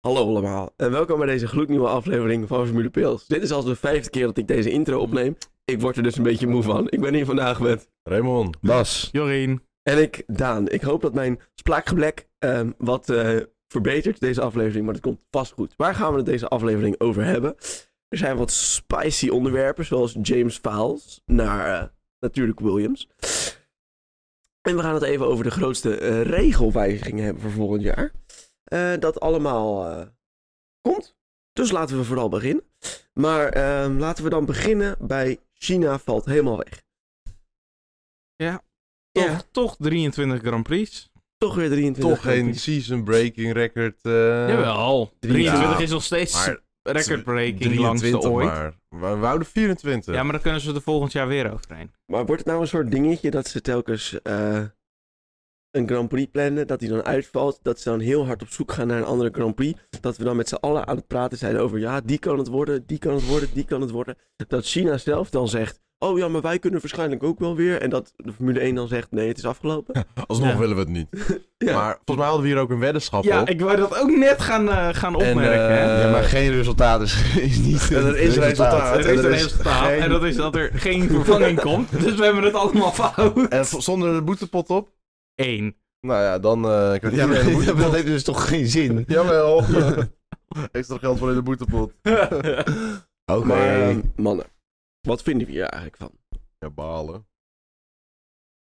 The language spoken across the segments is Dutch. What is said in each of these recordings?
Hallo allemaal en welkom bij deze gloednieuwe aflevering van Formule Pils. Dit is al de vijfde keer dat ik deze intro opneem. Ik word er dus een beetje moe van. Ik ben hier vandaag met... Raymond. Bas. Jorien. En ik, Daan. Ik hoop dat mijn spraakgeblek ehm, wat eh, verbetert deze aflevering, maar dat komt vast goed. Waar gaan we het deze aflevering over hebben? Er zijn wat spicy onderwerpen, zoals James Fowles naar eh, natuurlijk Williams. En we gaan het even over de grootste eh, regelwijzigingen hebben voor volgend jaar. Eh, dat allemaal eh, komt. Dus laten we vooral beginnen. Maar ehm, laten we dan beginnen bij China valt helemaal weg. Ja. Toch, Ja, toch 23 Grand Prix. toch weer 23. Toch geen season breaking record. eh Jawel. 23 Ja, is nog steeds maar recordbreaking 23 langste ooit. maar. eh, We wouden 24. Ja, maar dan kunnen ze er volgend jaar weer overheen. Maar wordt het nou een soort dingetje dat ze telkens eh, een Grand Prix plannen, dat die dan uitvalt, dat ze dan heel hard op zoek gaan naar een andere Grand Prix, dat we dan met z'n allen aan het praten zijn over, ja, die kan het worden, die kan het worden, die kan het worden. Dat China zelf dan zegt, oh ja, maar wij kunnen waarschijnlijk ook wel weer. En dat de Formule 1 dan zegt, nee, het is afgelopen. Alsnog Ja. willen we het niet. Ja. Maar volgens mij hadden we hier ook een weddenschap op. ik wou dat ook net gaan, eh, gaan En, opmerken. hè. eh, ja, maar geen resultaat is, is niet. En er is het resultaat. er is er een is resultaat geen- en dat is dat er geen vervanging komt. Dus we hebben het allemaal fout. En v- zonder de boetepot op? Eén. Nou ja, dan eh krijgt Ja, iedereen maar een dat, boetepot. heeft dus toch geen zin. Jawel. Extra geld voor in de boetepot. Oké. Maar eh, ehm, mannen, wat vinden we hier eigenlijk van? Ja, balen.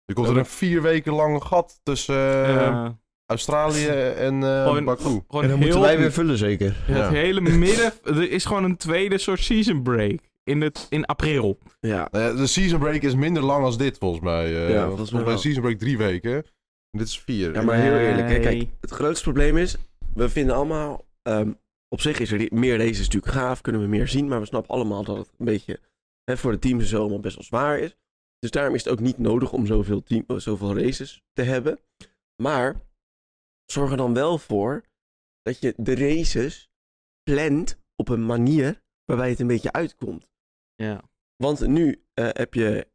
Er komt er een vier weken lang gat tussen eh, Eh, Australië en eh Gewoon- Baku. gewoon En dan heel, moeten wij weer vullen, zeker. Ja. Het hele midden. Er is gewoon een tweede soort season break. In, het, in april. Ja, Nou ja, de season break is minder lang als dit, volgens mij. Eh, Ja, volgens volgens mij mij wel. is season break drie weken. En dit is vier. ja maar heel eerlijk, hè, kijk, Nee. het grootste probleem is, we vinden allemaal, ehm, op zich is er die- meer races natuurlijk gaaf, kunnen we meer zien, maar we snappen allemaal dat het een beetje hè, voor de teams en zo allemaal best wel zwaar is. Dus daarom is het ook niet nodig om zoveel, team, eh, zoveel races te hebben. Maar zorg er dan wel voor dat je de races plant op een manier waarbij het een beetje uitkomt. Ja. Want nu eh, heb je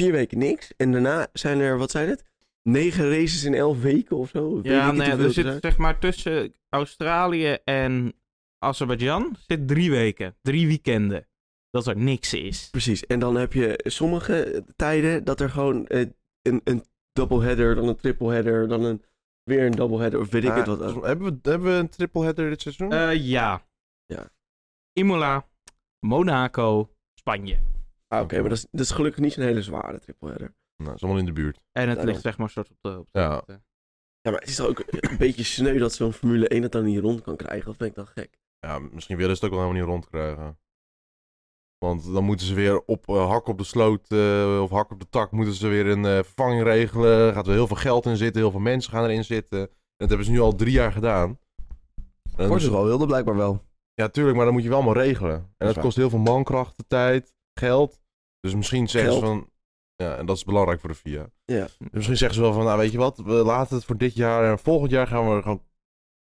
vier weken niks. En daarna zijn er, wat zijn het? Negen races in elf weken of zo. Weet ik Ja, niet nee, hoeveel er het zit zijn. zeg maar tussen Australië en Azerbeidzjan zit drie weken, drie weekenden. Dat er niks is. Precies. En dan heb je sommige tijden dat er gewoon eh, een, een doubleheader, dan een tripleheader, dan een, weer een doubleheader. Of weet ik Ah, het wat. ook. volgens mij- hebben, we, hebben we een triple header dit seizoen? Eh, ja. Ja. Imola, Monaco, Spanje. Ah, Oké, maar dat is, dat is gelukkig niet zo'n hele zware tripleheader. Nou, is allemaal in de buurt. En het Daarom. ligt zeg maar soort op de... Op de Ja. Ja, maar het is toch ook een beetje sneu dat zo'n Formule 1 het dan niet rond kan krijgen. Dat vind ik dan gek. Ja, misschien willen ze het ook wel helemaal niet rondkrijgen. Want dan moeten ze weer op eh, hak op de sloot eh, of hak op de tak moeten ze weer een eh, vervanging regelen. Gaat er heel veel geld in zitten, heel veel mensen gaan erin zitten. En dat hebben ze nu al drie jaar gedaan. En dan moeten ze- Portugal wilde blijkbaar wel. Ja, tuurlijk, maar dan moet je wel allemaal regelen. En dat, is waar. kost heel veel mankracht, de tijd, geld. Dus misschien zeggen ze Geld. van... Ja, en dat is belangrijk voor de FIA. Ja. Dus misschien zeggen ze wel van, nou weet je wat, we laten het voor dit jaar en volgend jaar gaan we er gewoon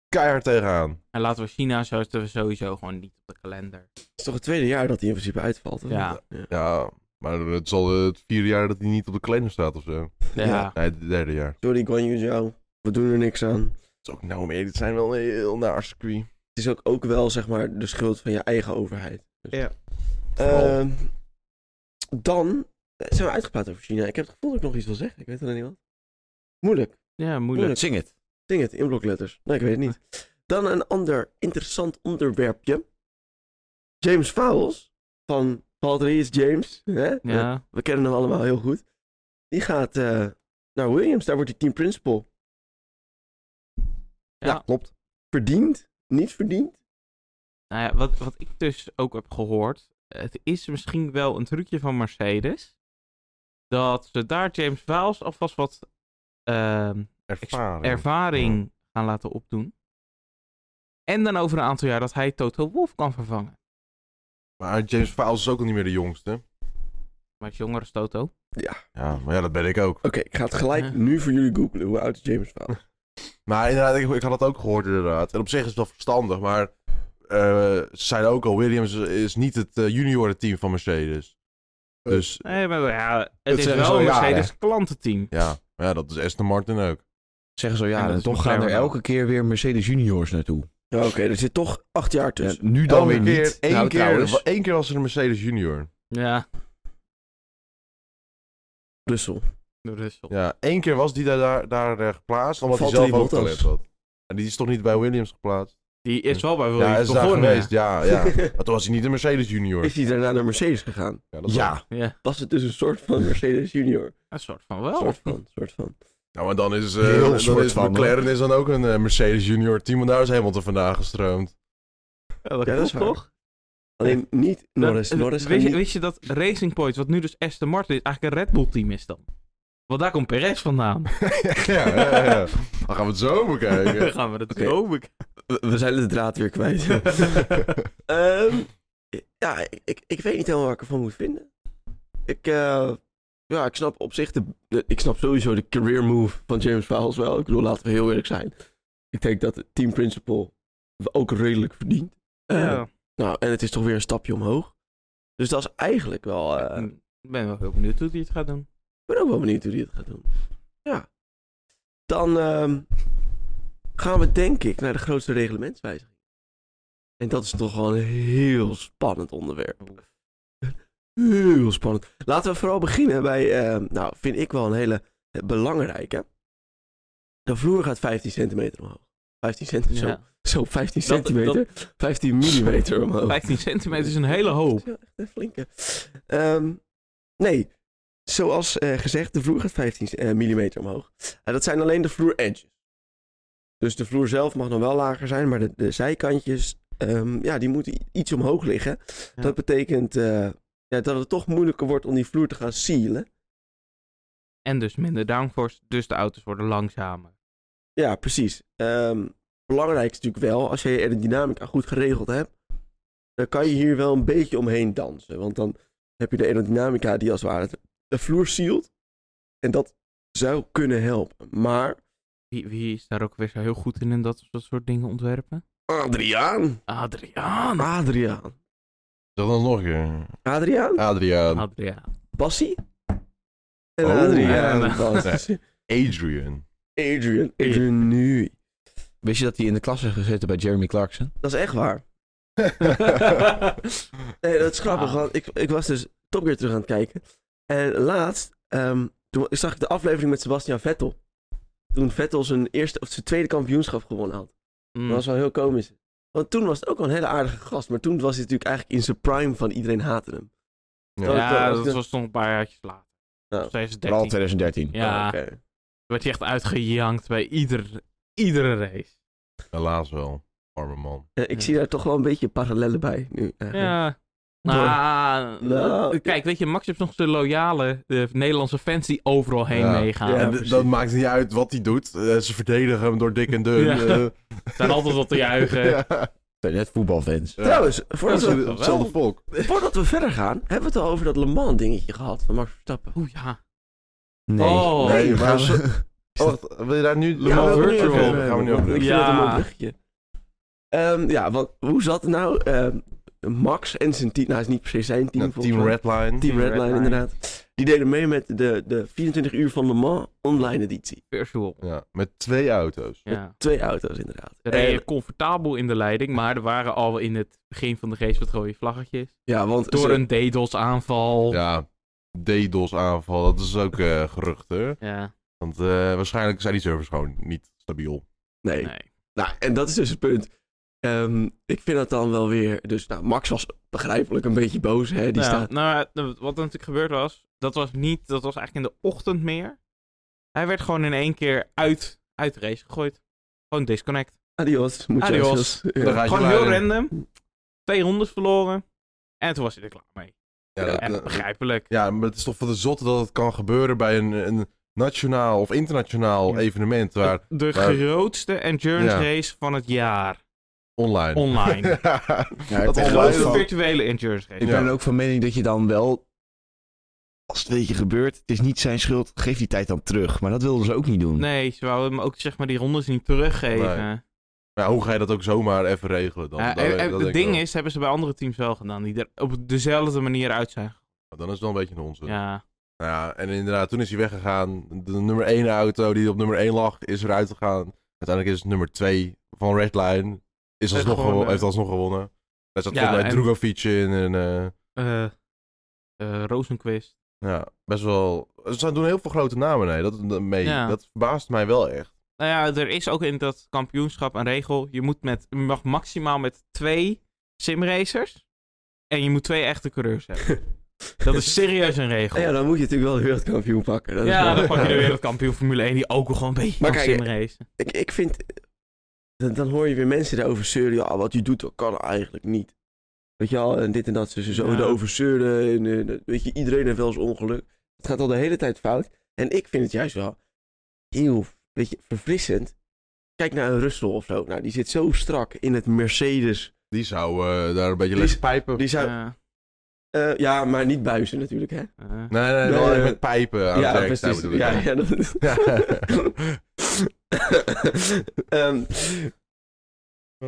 keihard tegenaan. En laten we China zetten we sowieso gewoon niet op de kalender. Het is toch het tweede jaar dat hij in principe uitvalt? of Ja. niet? Ja, maar het is al het vierde jaar dat hij niet op de kalender staat of zo. Ja. Ja. Nee, het derde jaar. Sorry, Guan Yu Zhao. We doen er niks aan. Het is ook nou mee, dit zijn wel een heel naar circuit. het is ook, ook wel zeg maar de schuld van je eigen overheid. Dus, Ja. Eh, Ehm, dan eh, zijn we uitgepraat over China. Ik heb het gevoel dat ik nog iets wil zeggen. Ik weet alleen niet wat. Moeilijk. Ja, moeilijk. moeilijk. Zing het. Ding het in blokletters. Nee, ik weet het niet. Dan een ander interessant onderwerpje. James Fowles van Valtteri is James. Hè? Ja. We kennen hem allemaal heel goed. Die gaat eh, naar Williams. Daar wordt hij team principal. Ja. klopt. Verdiend? Niet verdiend? Nou ja, wat, wat ik dus ook heb gehoord, het is misschien wel een trucje van Mercedes. Dat ze daar James Waals alvast wat ehm, ex- Ervaring. ervaring gaan laten opdoen. En dan over een aantal jaar dat hij Toto Wolf kan vervangen. Maar James Fowles is ook al niet meer de jongste. Maar het jonger is Toto. Ja, maar ja, dat ben ik ook. Oké, ik ga het gelijk Ja. nu voor jullie googlen. Hoe oud is James Fowles? Maar inderdaad, ik, ik had dat ook gehoord inderdaad. En op zich is het wel verstandig, maar eh, ze zeiden ook al, Williams is niet het eh, juniorenteam van Mercedes. Dus Nee, maar ja, het, is zeggen ze wel al een jaren. Mercedes klantenteam. ja, maar ja dat is Aston Martin ook. Zeggen zo ja, En dat en is toch nog gaan er kleiner dan. elke keer weer Mercedes Juniors naartoe. Ja, Oké, er zit toch acht jaar Ja, tussen. nu dan Elke weer keer, niet. Één, nou, keer, trouwens. één keer was er een Mercedes Junior. Ja, Brussel. de Russell. Ja, één keer was die daar, daar, daar eh, geplaatst, omdat hij Valtteri zelf ook Bottas. talent had. En die is toch niet bij Williams geplaatst? Die is wel bij ja, hij Williams is daar begonnen. geweest, Ah, ja, ja. is Maar toen was hij niet een Mercedes Junior. hij daarna naar Mercedes gegaan? Ja, dat was- Ja, Ja, Was het dus een soort van Mercedes Junior? een soort van wel. Soort van, soort van. Nou, maar dan is, eh, Heel dan soort is van, McLaren is dan ook een eh, Mercedes Junior team, want daar is helemaal te vandaan gestroomd. Ja, dat Ja, dat klopt is waar. toch? Alleen niet Norris. Dat- Norris gaat wist, je, niet- wist je dat Racing Point, wat nu dus Aston Martin is, eigenlijk een Red Bull team is dan? Want daar komt Perez vandaan. ja, ja, ja. Dan gaan we het zo bekijken. gaan we dat Oké. zo bekijken. We- We zijn de draad weer kwijt. Ehm, ja, ik, ik weet niet helemaal waar ik ervan moet vinden. Ik, eh, ja, ik snap op zich de, de- Ik snap sowieso de career move van James Fowles wel. Ik bedoel, laten we heel eerlijk zijn. Ik denk dat het team principle ook redelijk verdient. Eh, Ja. Nou, en het is toch weer een stapje omhoog. Dus dat is eigenlijk wel... eh, Ik ben wel heel benieuwd hoe hij het gaat doen. Ik ben ook wel benieuwd hoe die het gaat doen. Ja. Dan ehm, gaan we denk ik naar de grootste reglementswijziging. En dat is toch wel een heel spannend onderwerp. Heel spannend. Laten we vooral beginnen bij, ehm, nou vind ik wel een hele eh, belangrijke. De vloer gaat 15 centimeter omhoog. 15 centimeter, Ja. zo, zo 15 Dat- centimeter, 15 millimeter omhoog. 15 centimeter is een hele hoop. Ja, echt een flinke. Ehm, nee, zoals eh, gezegd, de vloer gaat 15 mm omhoor. En dat zijn alleen de vloer edges. Dus de vloer zelf mag dan wel lager zijn, maar de, de zijkantjes, ehm, ja, die moeten i- iets omhoog liggen. Ja. Dat betekent eh, ja, dat het toch moeilijker wordt om die vloer te gaan sealen. En dus minder downforce, dus de auto's worden langzamer. Ja, precies. Ehm, belangrijk is natuurlijk wel, als je je aerodynamica goed geregeld hebt, dan kan je hier wel een beetje omheen dansen. Want dan heb je de aerodynamica die als het ware de vloer sealt. En dat zou kunnen helpen. Maar, Wie, wie is daar ook weer zo heel goed in in dat, dat soort dingen ontwerpen? Adriaan! Adriaan! Adriaan! Zeg dan nog een keer. Adriaan? Adriaan. Adriaan. Bassie? En Oh, Adriaan. ja. Bas. Adrian. Adrian. Adrian nu. wist je dat hij in de klas is gezeten bij Jeremy Clarkson? Dat is echt waar. Nee, dat is grappig, want ik, ik was dus Top Gear terug aan het kijken. En laatst, ehm, toen zag ik de aflevering met Sebastian Vettel. Toen Vettel zijn eerste of zijn tweede kampioenschap gewonnen had. Mm. Dat was wel heel komisch. Want toen was het ook wel een hele aardige gast. Maar toen was hij natuurlijk eigenlijk in zijn prime van iedereen haatte hem. Ja. Ja, dat- dat was nog een paar jaartjes later. Nou. Zij is Vooral 13. 2013. Ja, Oh, oké. werd hij echt uitgejankt bij ieder, iedere race. Helaas wel. Arme man. Eh, ik zie daar toch wel een beetje parallellen bij nu. eigenlijk. Ja. Door. Nou, Nou, eh, kijk, weet je, Max heeft nog zijn loyale eh, Nederlandse fans die overal heen Ja. meegaan. Ja, En d- precies. dat maakt niet uit wat hij doet. Eh, ze verdedigen hem door dik en dun. Ja. eh. Zijn altijd wat te juichen. Ja. Zijn net voetbalfans. Ja. Trouwens, Dat voordat is we, het- hetzelfde volk. voordat we verder gaan, hebben we het al over dat Le Mans dingetje gehad van Max Verstappen. Oeh ja. Nee. Oh. Nee, we maar gaan- zo- Oh, wacht, wil je daar nu... Ja, Mans we- Virtual. we- we- Gaan we nu ook Ik vind doen. dat een Ja. mooi bruggetje. Ehm, ja, want hoe zat het nou? Ehm, Max en zijn team, nou hij is niet per se zijn team. Nou, volgens team mij. Redline. Team Team Redline, Redline. inderdaad. Die deden mee met de, de 24 uur van Le Mans online editie. Virtual. Ja, met twee auto's. Ja. Twee auto's inderdaad. Ze reden En- comfortabel in de leiding, maar er waren al in het begin van de race wat rode vlaggetjes. ja, want Door ze- een DDoS aanval. Ja, DDoS aanval. Dat is ook eh gerucht, hè. Ja, Want eh, waarschijnlijk zijn die servers gewoon niet stabiel. Nee. nee. Nou, en dat is dus het punt. Ehm, ik vind dat dan wel weer... Dus nou, Max was begrijpelijk een beetje boos. Hè? Die Ja, staat... Nou, eh, wat er natuurlijk gebeurd was, dat was niet, dat was eigenlijk in de ochtend meer. Hij werd gewoon in één keer uit, uit de race gegooid. Gewoon disconnect. Adios. Moet Adios. Je Dan ja. ga je Gewoon heel luiden. random. Twee rondes verloren. En toen was hij er klaar mee. Ja, Ja, dat- En dat- begrijpelijk. ja, maar het is toch van de zotte dat het kan gebeuren bij een, een nationaal of internationaal Ja. evenement waar de maar- grootste endurance Ja. race van het jaar. online. Online. ja, Ja, dat ik ben online. wel grootste van- virtuele endurance race. Ik Ja. ben ook van mening dat je dan wel, als het een beetje gebeurt, het is niet zijn schuld, geef die tijd dan terug. Maar dat wilden ze ook niet doen. Nee, ze wouden hem ook zeg maar die rondes niet teruggeven. Nee. Maar ja, hoe ga je dat ook zomaar even regelen dan? Ja, Dat- en- en dat denk het ik ding wel. is, hebben ze bij andere teams wel gedaan. Die er op dezelfde manier uit zijn. Nou, Dan is het wel een beetje een onzin. Ja. Nou ja, en inderdaad, toen is hij weggegaan. De nummer 1 auto die op nummer 1 lag, is eruit gegaan. Uiteindelijk is het nummer 2 van Redline. Is Heeft alsnog, gewoon, gewo- eh, heeft alsnog gewonnen. Hij zat Ja, volgens mij en- Drugovic in en... eh, Eh eh, Rosenquist. Ja, best wel. Ze doen heel veel grote namen nee, dat, dat- mee. Ja. Dat verbaast mij wel echt. Nou ja, er is ook in dat kampioenschap een regel. Je, moet met, je mag maximaal met twee simracers. En je moet twee echte coureurs hebben. Dat is serieus een regel. Ja, Ja, dan moet je natuurlijk wel de wereldkampioen pakken. Dat is wel- dan pak je de wereldkampioen Formule 1 die ook wel gewoon een beetje Maar kan kijk, simracen. Ik, ik vind... Dan, dan hoor je weer mensen daarover zeuren. Ja, wat je doet, dat kan eigenlijk niet. Weet je al, en dit en dat. Ze ze zo Ja. erover zeuren. En, eh, dat- weet je, iedereen heeft wel eens ongeluk. Het gaat al de hele tijd fout. En ik vind het juist wel heel, weet je, verfrissend. Kijk naar een Russell of zo. Nou, die zit zo strak in het Mercedes. Die zou eh, daar een beetje Die les is- pijpen. Die zou... Ja, eh, ja, maar niet buizen natuurlijk, hè? Nee, eh. nee, nee, Nee, wel eh, met pijpen aan ja, het werk zijn precies. bedoel ik. Ja, ja, dat- Ehm,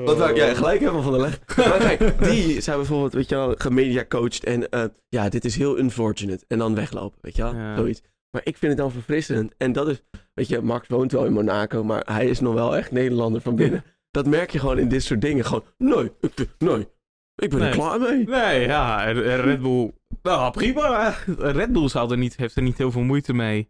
wat wou ik jij gelijk hebben van de leg? Maar kijk, die zijn bijvoorbeeld, weet je wel, gemediacoacht en eh, ja, dit is heel unfortunate. En dan weglopen, weet je wel, Ja. zoiets. Maar ik vind het dan verfrissend. En dat is, weet je, Max woont wel in Monaco, maar hij is nog wel echt Nederlander van binnen. Dat merk je gewoon in dit soort dingen. Gewoon, nee, ik, ben- nee, ik ben Nee. er klaar mee. Nee, ja, en- en Red Bull. Nou, prima. Red Bull zal er niet, heeft er niet heel veel moeite mee.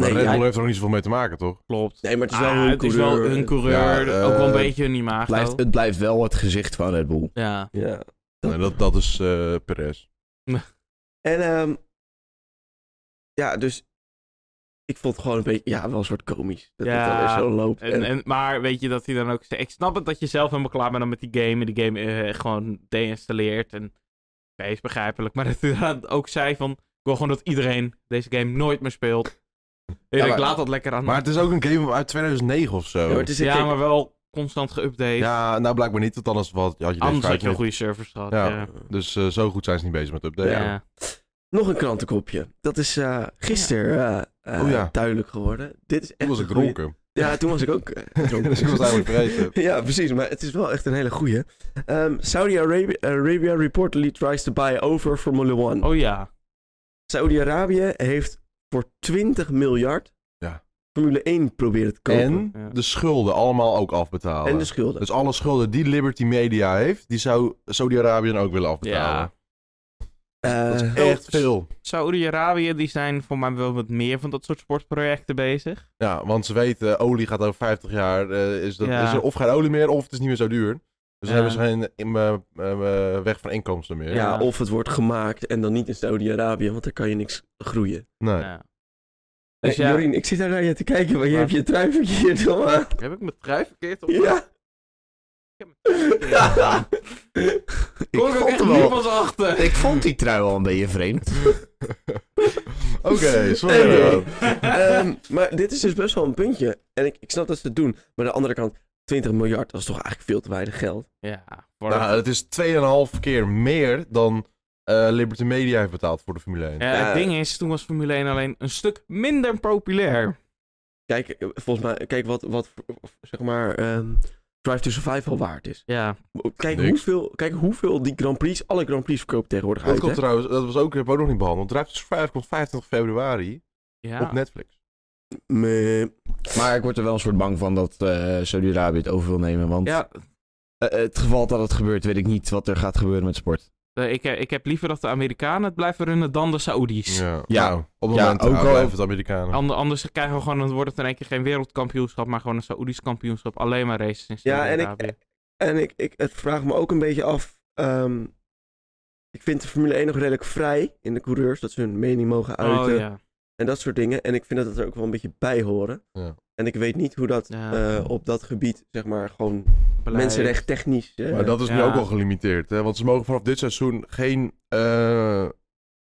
Maar Nee, Red Bull ja, heeft er ook niet zoveel mee te maken, toch? Klopt. nee, maar het is wel Ah, een het is wel coureur. een coureur. Ja, ook wel een eh, beetje een imago. Blijft, het blijft wel het gezicht van Red Bull. Ja. Ja. Nee, dat, dat is eh Perez. En ehm, ja, dus ik vond het gewoon een beetje, ja, wel een soort komisch. Dat Ja, het dan weer zo loopt. En, En, en, maar weet je dat hij dan ook... Ik snap het dat je zelf helemaal klaar bent dan met die game. En die game eh, gewoon deinstalleert. En nee, is begrijpelijk. Maar dat hij dan ook zei van... Ik wil gewoon dat iedereen deze game nooit meer speelt. Ik denk, maar- laat dat lekker aan. Maar het is ook een game uit 2009 of zo. Ja, Ja, maar het is, ja, kijk, maar wel constant geüpdate. nou blijkbaar niet, want anders wat, had je deze Anders had fout je een niet. goede servers gehad. Ja. ja. Dus eh, zo goed zijn ze niet bezig met updaten. Ja. Nog een krantenkopje. Dat is eh gisteren eh, eh, Oh ja. duidelijk geworden. Dit is echt Toen was een ik goeie- dronken. Ja, toen was ik ook eh, dronken. dus ik was eigenlijk vergeten. Ja, precies. Maar het is wel echt een hele goeie. Ehm, Saudi Arabia, Arabia reportedly tries to buy over Formula One. Oh ja. Saudi-Arabië heeft voor 20 miljard Ja. Formule 1 proberen te kopen. En Ja. de schulden allemaal ook afbetalen. En de schulden. Dus alle schulden die Liberty Media heeft, die zou Saudi-Arabië dan ook willen afbetalen. dat is Eh, echt veel. Saudi-Arabië, die zijn voor mij wel wat meer van dat soort sportprojecten bezig. Ja, want ze weten, olie gaat over 50 jaar, eh, is, dat, Ja. is er of geen olie meer of het is niet meer zo duur. Dus Ja. dan hebben ze geen in, eh, eh, eh, weg van inkomsten meer. ja, of het wordt gemaakt en dan niet in Saudi-Arabië, want daar kan je niks groeien. Nee. Ja. Dus Eh, ja, Jorien, ik zit daar naar je te kijken, maar je Maar- hebt je truifertje hier nog aan. heb ik mijn trui verkeerd op? Ja. Ja. Ik Kom ik ook vond echt hem wel. niemand achter. Ik vond die trui al een beetje vreemd. Oké, sorry. Anyway. Ehm, maar dit is dus best wel een puntje. En ik, ik snap dat ze het doen. Maar aan de andere kant, 20 miljard, dat is toch eigenlijk veel te weinig geld. Ja, voor Nou, het is 2,5 keer meer dan eh, Liberty Media heeft betaald voor de Formule 1. Ja, Ja. het ding is, toen was Formule 1 alleen een stuk minder populair. Kijk, eh, volgens mij, kijk wat, wat zeg maar, ehm, Drive to Survive al waard is. Ja, Kijk Niks. hoeveel, kijk hoeveel die Grand Prix, alle Grand Prix verkoopt tegenwoordig Dat uit. komt hè? trouwens, dat was ook, heb ik ook nog niet behandeld. Drive to Survive komt 25 februari ja. op Netflix. Meh. Maar ik word er wel een soort bang van dat eh, Saudi-Arabië het over wil nemen. Want ja eh, het geval dat het gebeurt, weet ik niet wat er gaat gebeuren met sport. eh, ik, ik heb liever dat de Amerikanen het blijven runnen dan de Saoedi's. Ja, Ja. Nou, op het Ja, moment ook ook al- al even het Amerikanen. Ander- anders krijgen we gewoon, dan wordt het in één keer geen wereldkampioenschap, maar gewoon een Saoedi's kampioenschap. Alleen maar races in Ja, en ik- Saudi-Arabië. En ik, ik het vraag me ook een beetje af. ehm, ik vind de Formule 1 nog redelijk vrij in de coureurs, dat ze hun mening mogen uiten. Oh ja. En dat soort dingen. En ik vind dat het er ook wel een beetje bij horen. Ja. En ik weet niet hoe dat Ja. eh, op dat gebied, zeg maar, gewoon Beleid. mensenrecht technisch. eh, Maar dat is nu Ja. ook al gelimiteerd. Hè? Want ze mogen vanaf dit seizoen geen eh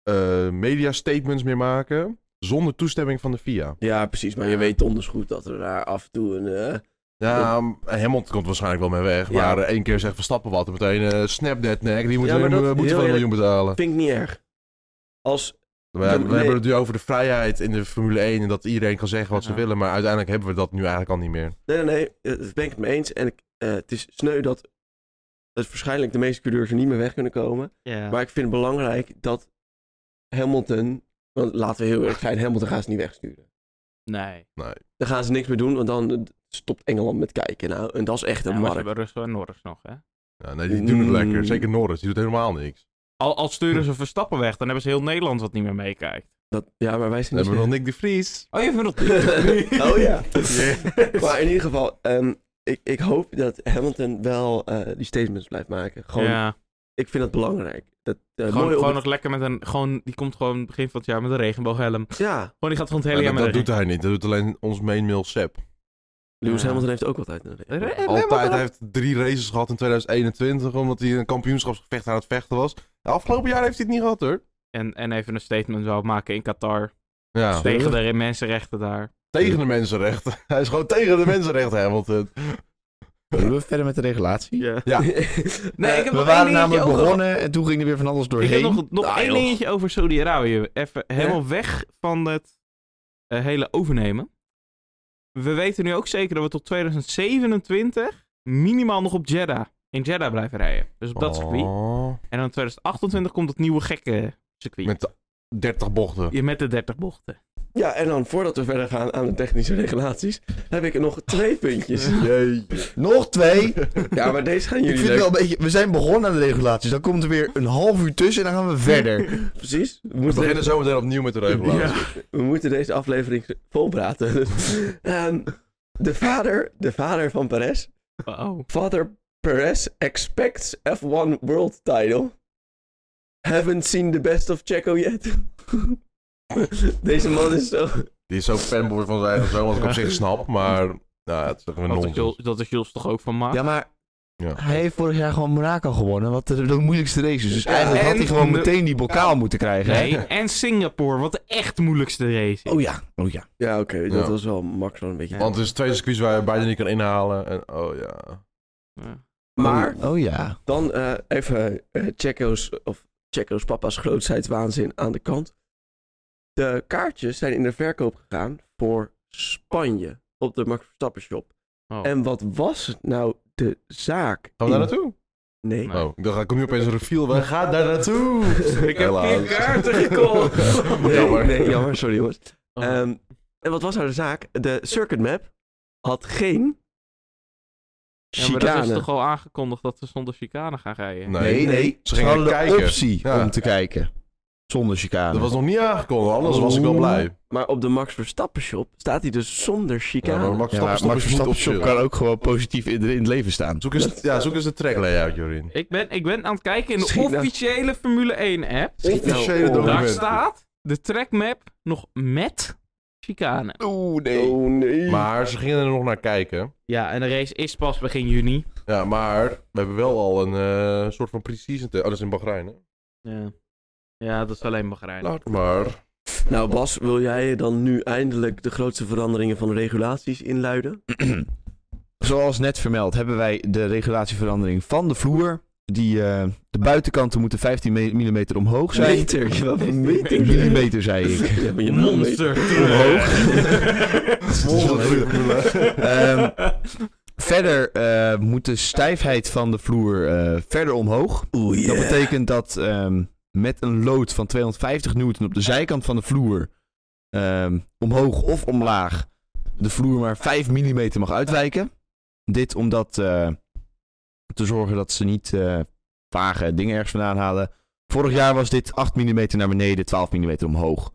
eh, media-statements meer maken. zonder toestemming van de FIA. Ja, precies. Maar je weet donders goed dat er daar af en toe een... eh, Ja, Hamilton komt waarschijnlijk wel mee weg. Ja. Maar eh, één keer zegt Verstappen wat. en meteen eh snap that neck. Die moet Ja, maar dat- we moeten heel wel een miljoen betalen. vind ik niet erg. Als... We, Ja, hebben- we nee. hebben het nu over de vrijheid in de Formule 1. En dat iedereen kan zeggen wat ze Ja. willen. Maar uiteindelijk hebben we dat nu eigenlijk al niet meer. Nee, nee, nee. eh, Dat ben ik het mee eens. En ik, eh, het is sneu dat het waarschijnlijk de meeste coureurs er niet meer weg kunnen komen. Ja. Maar ik vind het belangrijk dat Hamilton... Want laten we heel erg zijn, Hamilton gaan ze niet wegsturen. Nee. Daar gaan ze niks meer doen, want dan eh, stopt Engeland met kijken. Nou, en dat is echt een Ja, maar ze markt. hebben Russen en Norris nog, hè? Ja, nee, die doen het Mm. lekker. Zeker Norris, die doet helemaal niks. Al, al sturen ze Verstappen weg, dan hebben ze heel Nederland wat niet meer meekijkt. Dat, ja, maar wij Dan zijn hebben we nog niet... Nick de Vries. Oh, je vindt oh ja. Yes. Maar in ieder geval, ehm, ik, ik hoop dat Hamilton wel eh, die statements blijft maken. Gewoon, ja, Ik vind dat belangrijk. Dat, eh, gewoon, mooi op gewoon het- nog lekker met een... Gewoon, die komt gewoon begin van het jaar met een regenbooghelm. Gewoon, Ja, die gaat gewoon het Maar hele jaar dat, met dat een doet hij niet. Dat doet alleen ons mainmail Sepp. Lewis Ja. Hamilton heeft ook altijd een reden. Re- Altijd. Hij heeft drie races gehad in 2021, omdat hij een kampioenschapsgevecht aan het vechten was. De afgelopen jaar heeft hij het niet gehad, hoor. En, en even een statement wou maken in Qatar. Ja, Tegen de mensenrechten daar. tegen de mensenrechten. Hij is gewoon tegen de mensenrechten, Hamilton. Kunnen we verder met de regulatie? Ja. Ja. Nee, ik heb We nog waren één dingetje namelijk over- begonnen en toen ging er weer van alles Ik doorheen. heb nog, nog Ah, één joh. dingetje over Saudi-Arabië. Even helemaal weg van het eh, hele overnemen. We weten nu ook zeker dat we tot 2027 minimaal nog op Jeddah, in Jeddah blijven rijden. Dus op dat circuit. Oh. En dan in 2028 komt het nieuwe gekke circuit. Met 30 bochten. Je met de 30 bochten. Ja, en dan voordat we verder gaan aan de technische regulaties, heb ik nog twee puntjes. Nog twee. Ja, maar deze gaan Ik jullie vind het wel leuk. een beetje... We zijn begonnen aan de regulaties. Dan komt er weer een half uur tussen en dan gaan we verder. Precies. We We moeten, beginnen deze, zometeen opnieuw met de regelaars. Ja. we moeten deze aflevering volpraten. Ehm, de, vader, de vader van Perez. Oh. Vader Perez expects F1 world title. Haven't seen the best of Checo yet. Deze man is zo... Die is zo fanboy van zijn eigen zoon, wat ik op zich snap. Maar nou, ja, het is toch een Dat is, nonsens. Jules, dat is Jules toch ook van maakt? Ja, maar Ja. hij heeft vorig jaar gewoon Monaco gewonnen. Wat de, de moeilijkste race is. Dus Ja, eigenlijk had en hij gewoon de- meteen die bokaal moeten krijgen. hè? Nee, en Singapore, wat de echt moeilijkste race is. Oh ja, oh ja. Ja, oké. dat Ja. was wel Max wel een beetje... Ja. Want het is twee circuits waar je bijna niet kan inhalen. En, oh ja. Ja. Maar Oh ja. dan eh, even eh, Checo's... Of Checo's papa's grootheidswaanzin aan de kant. De kaartjes zijn in de verkoop gegaan voor Spanje. Op de Max Verstappen shop. Oh. En wat was nou de zaak? Gaan we daar in- naartoe? Nee. Nee. Oh, ik dacht, kom nu opeens een reveal. We gaan daar naartoe. Ik heb Helaas. vier kaarten gekocht. Nee, Jammer. nee, jammer. Sorry jongens. Oh. Ehm, en wat was nou de zaak? De circuit map had geen Ja, maar dat is chicane. toch al aangekondigd dat we zonder chicane gaan rijden? Nee. Nee, nee. Ze gingen hadden de kijken. optie Ja. om te kijken. Zonder chicane. Dat was nog niet aangekondigd, anders was ik wel blij. Maar op de Max Verstappen shop staat hij dus zonder Ja, chicane. maar Max Ja, maar Verstappen Max is niet op Verstappen shop kan shit. ook gewoon positief in, in het leven staan. Zoek eens, ja, zoek eens de track layout, Jorin. Ik ben, ik ben aan het kijken in de Schiet nou- officiële Formule 1 app. Schiet nou Officiële op. document. Daar Documenten. staat de trackmap nog met chicane. Oeh, Oh nee. Maar ze gingen er nog naar kijken. Ja, en de race is pas begin juni. Ja, maar we hebben wel al een eh, soort van pre-season... te- Oh, dat is in Bahrein, hè? Ja, ja dat is alleen Bahrein. Laat maar. Nou Bas, wil jij dan nu eindelijk de grootste veranderingen van de regulaties inluiden? Zoals net vermeld hebben wij de regulatieverandering van de vloer. Die, eh, de buitenkanten moeten 15 mm omhoog zijn. Meter, ja, wat een meter. Millimeter, zei ik. Ja, maar je Monster omhoog. Ehm, verder eh, moet de stijfheid van de vloer eh, verder omhoog. Oeh, Dat betekent dat ehm, met een lood van 250 newton op de zijkant van de vloer ehm, omhoog of omlaag de vloer maar 5 mm mag uitwijken. Dit omdat eh, te zorgen dat ze niet eh, vage dingen ergens vandaan halen. Vorig jaar was dit 8 mm naar beneden, 12 mm omhoog.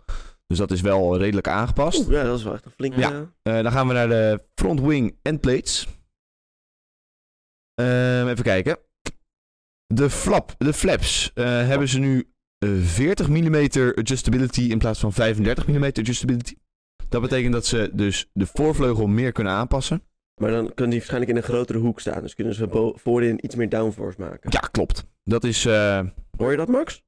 Dus dat is wel redelijk aangepast. Oeh, ja, dat is wel echt een flinke... Ja. eh, Eh, dan gaan we naar de front wing end plates. Ehm, even kijken. De, flap, de flaps eh, hebben ze nu eh, 40 mm adjustability in plaats van 35 mm adjustability. Dat betekent dat ze dus de voorvleugel meer kunnen aanpassen. Maar dan kan die waarschijnlijk in een grotere hoek staan. Dus kunnen ze bo- voorin iets meer downforce maken. Ja, klopt. Dat is eh, Hoor je dat Max?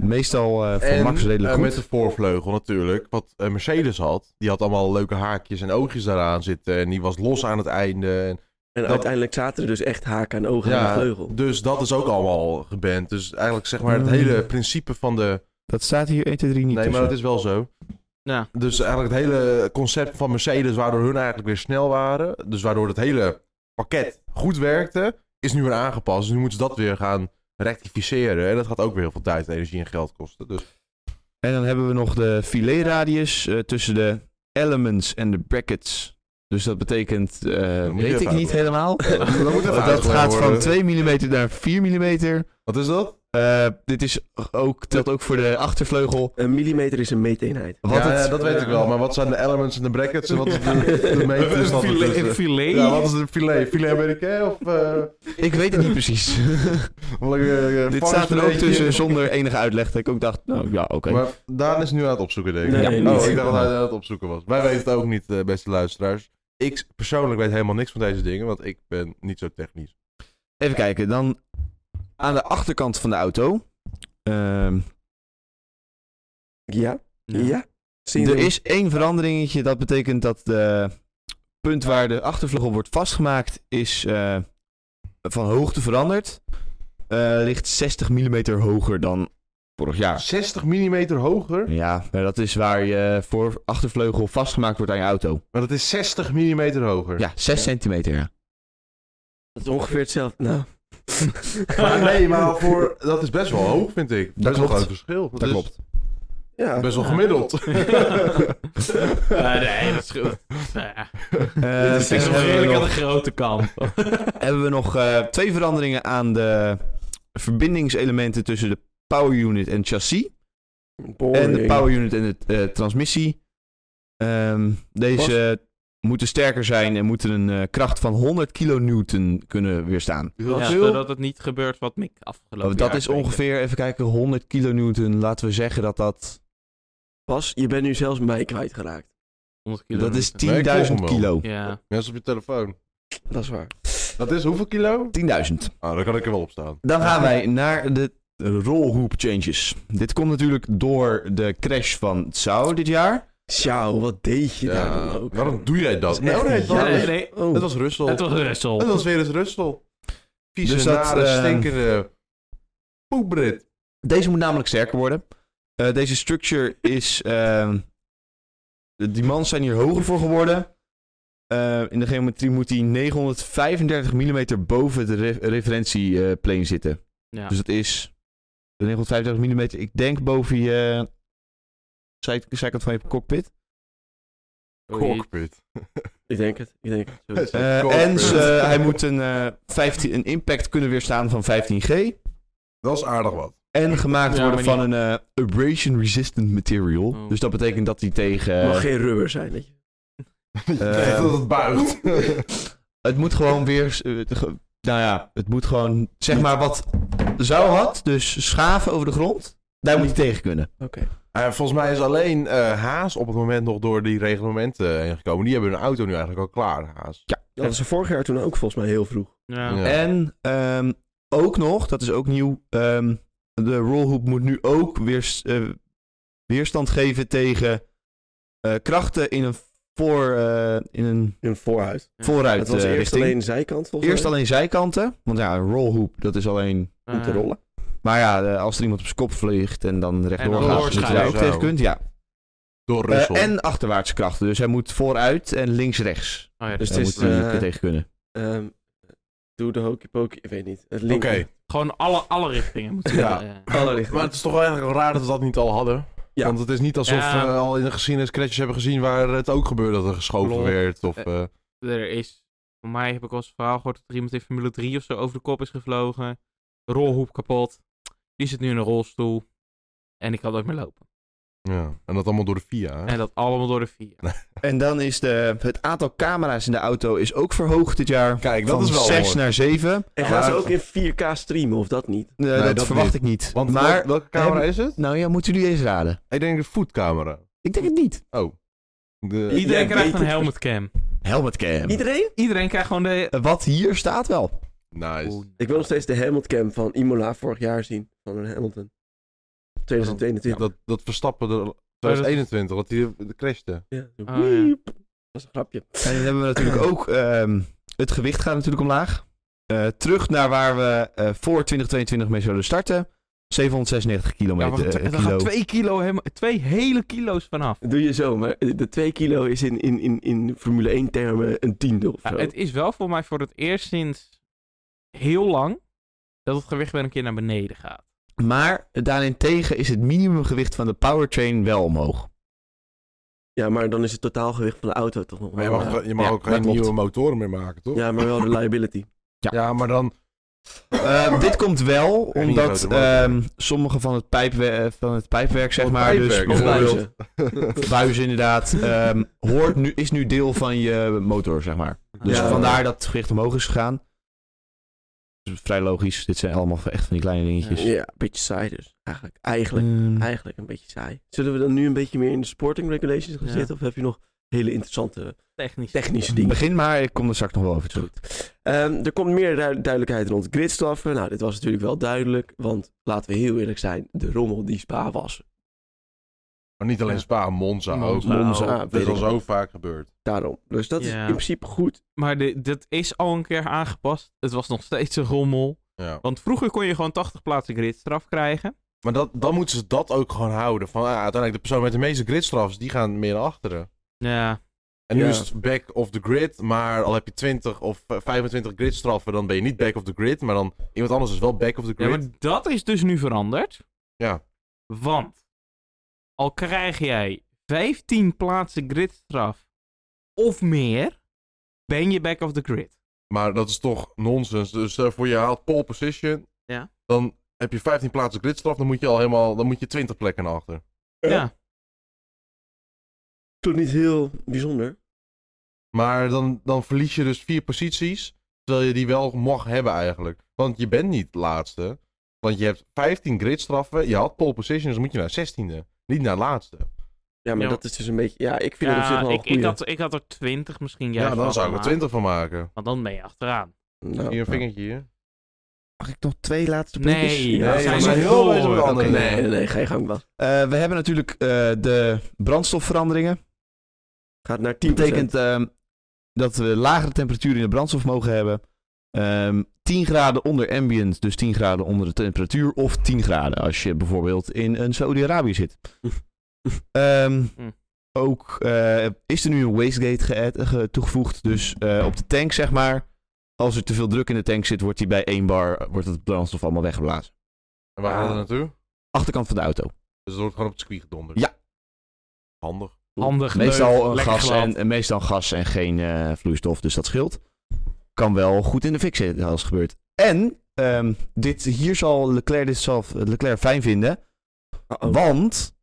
meestal eh, voor En, Max redelijk eh, goed. met de voorvleugel natuurlijk. Wat eh, Mercedes had. Die had allemaal leuke haakjes en oogjes daaraan zitten. En die was los aan het einde. En En Dat- uiteindelijk zaten er dus echt haken en ogen aan Ja, de vleugel. Dus dat is ook allemaal geband. Dus eigenlijk zeg maar het Mm. hele principe van de... Dat staat hier 1, 2, 3 niet Nee, maar tussen. dat is wel zo. Ja. Dus eigenlijk het hele concept van Mercedes, waardoor hun eigenlijk weer snel waren. Dus waardoor het hele pakket goed werkte, is nu weer aangepast. Dus nu moeten ze dat weer gaan rectificeren. En dat gaat ook weer heel veel tijd, energie en geld kosten. Dus En dan hebben we nog de filetradius eh, tussen de elements en de brackets. Dus dat betekent, eh, moet je weet ik even niet helemaal. Dat moet even dat uitgelegd gaat van worden. 2 mm naar 4 mm. Wat is dat? dit is ook, telt ook voor de achtervleugel. Een millimeter is een meeteenheid. Wat ja, het- ja, dat weet ik wel. Maar wat zijn de elements en de brackets? En wat is de, de meetverstand Filet. ertussen? filet. eh. Ja, wat is een filet? Filet americain of... eh Ik weet het niet precies. wel een, eh, Dit varkens- staat er ook filetjes? tussen zonder enige uitleg. Dat ik ook dacht, nou ja, oké. Maar Daan is nu aan het opzoeken, denk ik. Nee, oh, niet. ik dacht dat hij aan het opzoeken was. Wij weten het ook niet, eh, beste luisteraars. Ik persoonlijk weet helemaal niks van deze dingen, want ik ben niet zo technisch. Even kijken, dan aan de achterkant van de auto. Ehm, Ja, ja. Zien er we- is één veranderingetje. Dat betekent dat de punt waar de achtervleugel wordt vastgemaakt is eh, van hoogte veranderd. Eh, ligt 60 mm hoger dan vorig jaar. 60 mm hoger, Ja, maar dat is waar je voor achtervleugel vastgemaakt wordt aan je auto. maar dat is 60 mm hoger. Ja, 6 centimeter. Ja. Dat is ongeveer hetzelfde. Nou. Maar nee, maar voor, dat is best wel hoog, vind ik. Best wel klopt. een groot verschil. Dat is klopt. Ja. Best wel gemiddeld. Eh, nee, dat is goed. Nou ja, Eh, het is verder hebben nog we redelijk aan nog- de grote kant. hebben we nog eh, twee veranderingen aan de verbindingselementen tussen de power unit en chassis. En de Boring. power unit en de eh, transmissie. Ehm, deze moeten sterker zijn en moeten een eh, kracht van 100 kilonewton kunnen weerstaan. Heel Ja, veel. zodat het niet gebeurt wat Mick afgelopen dat jaar is deed. ongeveer, even kijken, 100 kilonewton. Laten we zeggen dat dat... Bas, je bent nu zelfs mij kwijtgeraakt. 100 Dat is kilometer. Nee, ik volg hem 10.000 wel. kilo. Ja. Mensen op je telefoon. Dat is waar. Dat is hoeveel kilo? 10.000. Ah, dan kan ik er wel op staan. Dan gaan wij naar de rolhoop changes. Dit komt natuurlijk door de crash van Tsao dit jaar. Sjouw, wat deed je daar Ja, dan ook? waarom doe jij dat? Dat is echt Oh, nee, het was- Ja, nee, jammer. nee. Oh. Het was Russel. Het was Russel. En dat is weer eens Russel. Vieze, Dus dat, nare, eh, stinkende poebrit. Deze moet namelijk sterker worden. Eh, deze structure is... ehm, de demands zijn hier hoger voor geworden. Eh, in de geometrie moet die 935 mm boven de re- referentieplane zitten. Ja. Dus dat is 935 mm, ik denk boven je zij- zijkant van je cockpit. Oh, Cockpit. Ik denk het, ik denk het. Zoiets. Eh, Cockpit. en ze- hij moet een, eh, 15, een impact kunnen weerstaan van 15G. Dat is aardig wat. En gemaakt Ja, worden maar van een eh, abrasion-resistant material. Oh. Dus dat betekent dat hij Eh. tegen... mag geen rubber zijn, weet je. Eh, dat het buigt. Het moet gewoon weer. eh, ge- Nou ja, het moet gewoon. Zeg maar wat zou had, dus schaven over de grond. Daar moet je tegen kunnen. Eh, volgens mij is alleen eh, Haas op het moment nog door die reglementen eh, heen gekomen. Die hebben hun auto nu eigenlijk al klaar, Haas. Dat was er vorig jaar toen ook volgens mij heel vroeg. Ja. Ja. En ehm, ook nog, dat is ook nieuw. ehm, de rolhoop moet nu ook weer, eh, weerstand geven tegen eh, krachten in een, voor, eh, in een In vooruit. vooruit. Het was eh, eerst richting. alleen zijkant volgens eerst mij. alleen zijkanten. Want ja, een rolhoop, dat is alleen Eh, Om te rollen. Maar ja, eh, als er iemand op zijn kop vliegt en dan rechtdoor dan gaat, dat je doorschrijven. daar ook Zo. tegen kunt. Ja. Door Eh, Russel. en achterwaartse krachten. Dus hij moet vooruit en links-rechts. oh ja, Dus dus het Daar het is, moet is hij eh, tegen kunnen. Ehm, doe de hokey pokey, ik weet niet. Het Oké, link. gewoon alle, alle richtingen moeten Ja. rollen, ja. Alle lichten. maar het is toch wel eigenlijk raar dat we dat niet al hadden. Ja. Want het is niet alsof Ja. we al in de geschiedenis crashes hebben gezien waar het ook gebeurde dat er geschoven Klopt. werd. Of, eh, Er is, voor mij heb ik al eens een verhaal gehoord dat er iemand in Formule 3 of zo over de kop is gevlogen. Rolhoep kapot. Die zit nu in een rolstoel. En ik kan nooit meer lopen. ja. En dat allemaal door de FIA. hè? En dat allemaal door de vier. En dan is de, het aantal camera's in de auto is ook verhoogd dit jaar. Kijk, dat van is wel 6 mooi. naar 7. en gaan ze Ja. ook in 4K streamen of dat niet? Eh, Nee, dat, dat verwacht niet. ik niet. Want maar, wel- welke camera is het? nou ja, moeten jullie eens raden? Ik denk de voetcamera. Ik denk het niet. Oh. De... Ieder- Iedereen jij krijgt weet een het. helmetcam. Helmetcam. Iedereen? Iedereen krijgt gewoon de... Oh, Eh, Wat hier staat wel. Nice. Ik wil nog steeds de Hamilton van Imola vorig jaar zien. Van een Hamilton. 2021. Dat, dat Verstappen er 2021, dat hij crashte. Ja. Zo, Oh, ja. wiep. Dat was een grapje. En dan hebben we natuurlijk ook... ehm, het gewicht gaat natuurlijk omlaag. Eh, terug naar waar we eh, voor 2022 mee zouden starten. 796 Ja, maar kilometer. er eh, gaan kilo. twee kilo, helemaal- twee hele kilo's vanaf. Dat doe je zo, maar de 2 kilo is in, in, in, in Formule 1 termen een tiende of Ja, zo. het is wel voor mij voor het eerst sinds heel lang dat het gewicht weer een keer naar beneden gaat. Maar daarentegen is het minimumgewicht van de powertrain wel omhoog. Ja, maar dan is het totaalgewicht van de auto toch nog Maar je wel, mag, eh, je mag ja, ook dat geen klopt. nieuwe motoren meer maken, toch? ja, maar wel de liability. Ja, maar dan... Eh, dit komt wel niet omdat grote motor. ehm, sommige van het, pijpwe- van het pijpwerk, zeg Van het maar, pijpwerk, dus ja. bijvoorbeeld Buizen. buizen inderdaad, ehm, hoort nu, is nu deel van je motor, zeg maar. Dus Ja. vandaar dat het gewicht omhoog is gegaan. Dus vrij logisch, dit zijn allemaal echt van die kleine dingetjes. Ja, een beetje saai dus. Eigenlijk, eigenlijk, Ehm, eigenlijk een beetje saai. Zullen we dan nu een beetje meer in de sporting regulations gaan Ja. zitten? Of heb je nog hele interessante Technisch. technische dingen? begin maar, ik kom er straks nog wel over terug. Goed. Ehm, er komt meer du- duidelijkheid rond gridstraffen. Nou, dit was natuurlijk wel duidelijk. Want laten we heel eerlijk zijn, de rommel die Spa was, Maar niet alleen Ja. Spa, Monza, ook. Nou, Monza, Dat weet is al ik zo wat. vaak gebeurd. daarom. Dus dat is Ja. in principe goed. Maar de- dat is al een keer aangepast. Het was nog steeds een rommel. Ja. Want vroeger kon je gewoon 80 plaatsen gridstraf krijgen. Maar dat, dan moeten ze dat ook gewoon houden. Van, ah, uiteindelijk de persoon met de meeste gridstrafs, die gaan meer naar achteren. Ja. En nu Ja. is het back of the grid, maar al heb je 20 of eh, 25 gridstraffen, dan ben je niet back of the grid, maar dan iemand anders is wel back of the ja, grid. maar dat is dus nu veranderd. Ja. Want al krijg jij 15 plaatsen gridstraf of meer, ben je back of the grid. Maar dat is toch nonsens. Dus eh, voor je haalt pole position. Ja. Dan heb je 15 plaatsen gridstraf. Dan moet je al helemaal. Dan moet je 20 plekken naar achter. Ja. Ja. Toch niet heel bijzonder. Maar dan, dan verlies je dus vier posities. Terwijl je die wel mag hebben eigenlijk. Want je bent niet laatste. Want je hebt 15 gridstraffen. Je had pole position. Dus moet je naar 16e. Niet naar laatste. Ja, maar Ja. dat is dus een beetje... Ja, ik vind het op zich Ja, wel ik, een ik, goeie. had, ik had er 20 misschien Ja, juist dan van zou ik er gemaakt, 20 van maken. Want dan ben je achteraan. Nou, Hier een vingertje hier. Mag ik nog twee laatste puntjes? Nee, Ja, we we zijn zijn er heel voor. bezig met Oké. andere Nee, nee, nee, geen gang was. Eh, we hebben natuurlijk eh, de brandstofveranderingen. Gaat naar 10%. Dat betekent ehm, dat we lagere temperaturen in de brandstof mogen hebben. Ehm 10 graden onder ambient, dus 10 graden onder de temperatuur. Of 10 graden als je bijvoorbeeld in een Saudi-Arabië zit. Ehm, Hm. Ook eh, is er nu een wastegate geadd- eh, ge- toegevoegd. Dus eh, op de tank, zeg maar. Als er te veel druk in de tank zit, wordt die bij 1 bar wordt het brandstof allemaal weggeblazen. En waar Ah. gaat het naartoe? Achterkant van de auto. Dus het wordt gewoon op het circuit gedonderd. Ja. Handig. Handig, leuk, Meestal, een lekker gas glad. en, en meestal gas en geen eh, vloeistof, dus dat scheelt. Kan wel goed in de fik zitten als het gebeurt. En ehm, dit, hier zal Leclerc, dit zal Leclerc fijn vinden, Uh-oh. want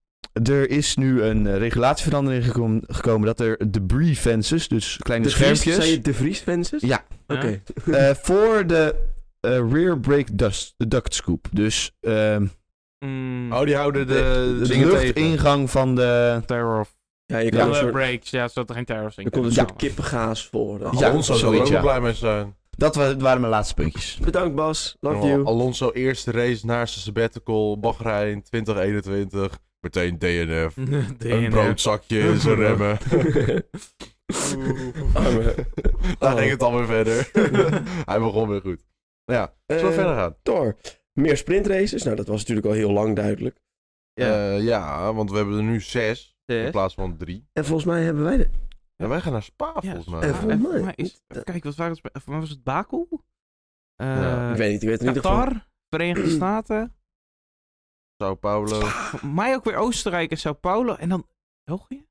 er is nu een eh, regulatieverandering gekom- gekomen dat er debris fences, dus kleine De Vries, schermpjes, zei je de Vries fences? Ja. Oké. eh, voor de eh, rear brake dust, duct scoop. Dus ehm, Mm, Oh, die houden de, de, dingen tegen. luchtingang van de... terror of Ja, je kan ja, een soort, breaks. Ja, zodat er geen terror in er komt een Ja. soort kippengaas voor. eh, Ja, Alonso zou er ook zoiets, wel ja. blij mee zijn. Dat wa- waren mijn laatste puntjes. Bedankt Bas, Oh, love Al- you. Alonso eerste race naar zijn sabbatical, Bahrein 2021. Meteen DNF. Een broodzakje in zijn remmen. Arme. Daar Ah, Oh. ging het alweer verder. Hij begon weer goed. Nou ja, zullen we Eh, verder gaan? Door. Meer sprintraces, nou dat was natuurlijk al heel lang duidelijk. Ja. Eh, ja, want we hebben er nu zes in Zes. plaats van drie. En volgens mij hebben wij de... En wij gaan naar Spa Ja, volgens mij. en Spa. volgens Eh, even- mij maar is- niet. Eh, Kijk, wat waren het? Voor mij was het Baku? Eh, Ja. ik weet niet, ik weet het in ieder geval. Qatar? Verenigde Staten? Sao Paulo. Voor Mij ook weer Oostenrijk en Sao Paulo. En dan België?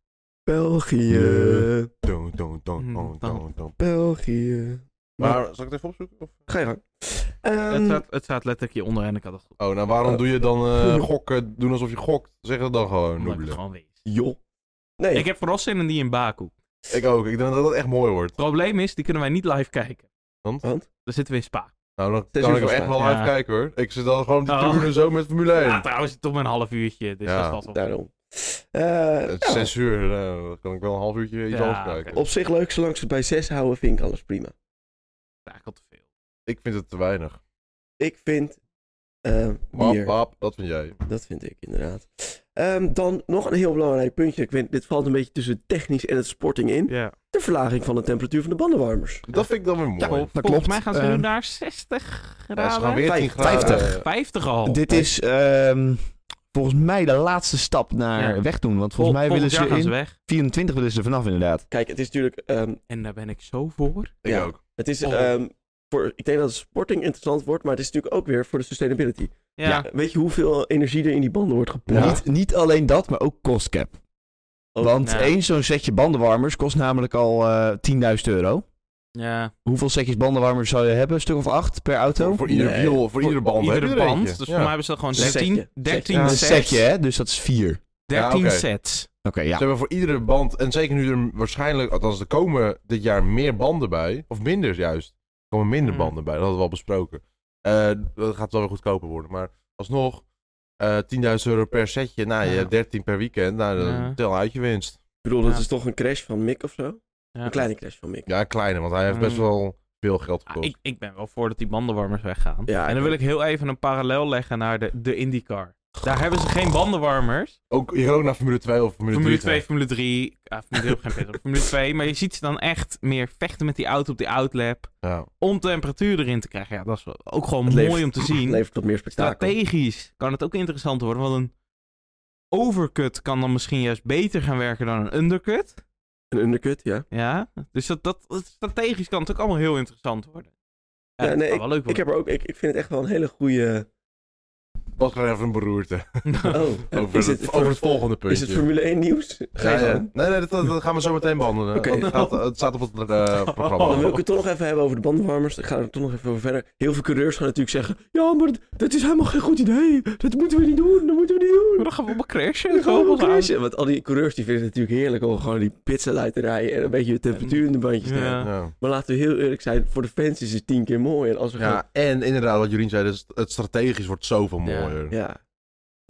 België, Don, don, don, don, don, don. België. Maar zal ik het even opzoeken? Of? Ga je gang. Ehm, het, staat, het staat letterlijk hier onderaan. Ik had het goed. Oh, nou waarom doe je dan eh, gokken? Doen alsof je gokt. Zeg het dan gewoon. Omdat ik het Noebele. gewoon weet. joh. Nee, Ik heb vooral zin in die in Baku. Het Ik ook. Ik denk dat dat echt mooi wordt. probleem is, die kunnen wij niet live kijken. Want? Want? Dan zitten we in Spa. Nou, dan Zes kan uur ik hem echt wel volgens mij. live kijken hoor. Ik zit dan gewoon op die Oh. tribune zo met Formule 1. Ja, trouwens, het is toch maar een half uurtje. Dus Ja. dat valt wel. daarom. Eh, Het is ja, zes uur, nou, dan kan ik wel een half uurtje iets Ja, anders kijken. oké. op zich leuk, zolang ze het bij 6 houden vind ik alles prima. Dat is eigenlijk al te veel. Ik vind het te weinig. Ik vind eh Wap, bier. wap, dat vind jij. Dat vind ik inderdaad. Ehm, dan nog een heel belangrijk puntje. Ik weet, dit valt een beetje tussen technisch en het sporting in. Ja. De verlaging van de temperatuur van de bandenwarmers. Dat vind ik dan weer mooi. Ja, dat Volgens klopt. mij gaan ze nu Ehm, naar 60 graden. Ja, ze gaan weer 10 graden. 50. 50 al. Dit is ehm, volgens mij de laatste stap naar Ja. wegdoen. Want Vol- volgens mij willen volgend ze jaar gaan in weg. 24 willen ze er vanaf inderdaad. Kijk, het is natuurlijk. ehm, En daar ben ik zo voor. Ik Ja. ook. het is, Oh. ehm, voor, ik denk dat het sporting interessant wordt, maar het is natuurlijk ook weer voor de sustainability. Ja. Weet je hoeveel energie er in die banden wordt Niet, gepompt? niet alleen dat, maar ook cost cap. Oh, Want ja. één zo'n setje bandenwarmers kost namelijk al eh, 10.000 euro. Ja, Hoeveel setjes bandenwarmers zou je hebben? Een stuk of acht per auto? Voor iedere Nee. wiel, voor, iedere band. heb iedere je er band. eentje. Dus voor Ja. mij hebben ze dat gewoon Setje. 13, Setje. 13 Ja, Een sets. setje, hè? Dus dat is vier. Oké, 13 Ja, oké. sets. ja. Ze hebben voor iedere band, en zeker nu er waarschijnlijk, althans er komen dit jaar meer banden bij, of minder juist. Er komen minder Hmm. banden bij, dat hadden we al besproken. Eh, dat gaat wel weer goedkoper worden, maar alsnog eh 10.000 euro per setje. Nou, je Ja. hebt 13 per weekend, nou, dan Ja. tel uit je winst. Ik bedoel, dat Ja. is toch een crash van Mick of zo? Ja. Een kleine crash van Mick. Ja, kleine, want hij heeft best Hmm. wel veel geld Ah, gekost. ik, ik ben wel voor dat die bandenwarmers weggaan. Ja, en ik dan wil ook. ik heel even een parallel leggen naar de, de IndyCar. Daar hebben ze geen bandenwarmers. Ook, je gaat ook naar Formule 2 of Formule, Formule 3. 2, Formule 3. Ah, Formule 3 op geen pit op. Formule 2. Maar je ziet ze dan echt meer vechten met die auto op die outlap. Ja. Om temperatuur erin te krijgen. Ja, dat is wel- ook gewoon Het mooi levert- om te Het zien. levert wat meer spektakel. Strategisch kan het ook interessant worden. Want een overcut kan dan misschien juist beter gaan werken dan een undercut. Een undercut, ja. Ja. Dus dat, dat, dat strategisch kan het ook allemaal heel interessant worden. Ja, Ja, dat nee, kan wel leuk Ik, worden. heb er ook, ik, ik vind het echt wel een hele goede... Was gewoon even een beroerte. Oh, Over, het, over het volgende Is puntje. het Formule 1 nieuws? Ga je Ja, ja. gang. Nee, nee, dat, dat gaan we zo meteen behandelen. Oké. Want het, gaat- het staat op het eh, Oh. Dan wil programma. ik het toch nog even hebben over de bandenwarmers. Ik ga er toch nog even over verder. Heel veel coureurs gaan natuurlijk zeggen... Ja, maar dat- dat is helemaal geen goed idee. Dat moeten we niet doen. Dat moeten we niet doen. Maar dan gaan we op een crashen. Dan gaan we Gewoon gaan. wel crashen. Want al die coureurs die vinden het natuurlijk heerlijk om gewoon die pitsen uit te rijden en een beetje de temperatuur in de bandjes te Ja. hebben. Ja. Maar laten we heel eerlijk zijn, voor de fans is het tien keer mooier als we gaan. Ja, en inderdaad, wat Jorien zei, dus het strategisch wordt zoveel Ja. mooier. Ja.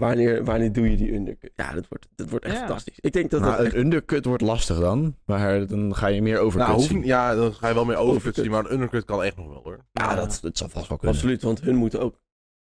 Wanneer, wanneer doe je die undercut? Ja, dat wordt, dat wordt echt Ja. fantastisch. Ik denk dat Nou, dat echt... een undercut wordt lastig dan. Maar dan ga je meer overcut Nou, hoef, zien. ja, dan ga je wel meer overcut Overcut. zien, maar een undercut kan echt nog wel hoor. Ja, dat, dat zal vast wel kunnen. Absoluut, want hun moeten ook,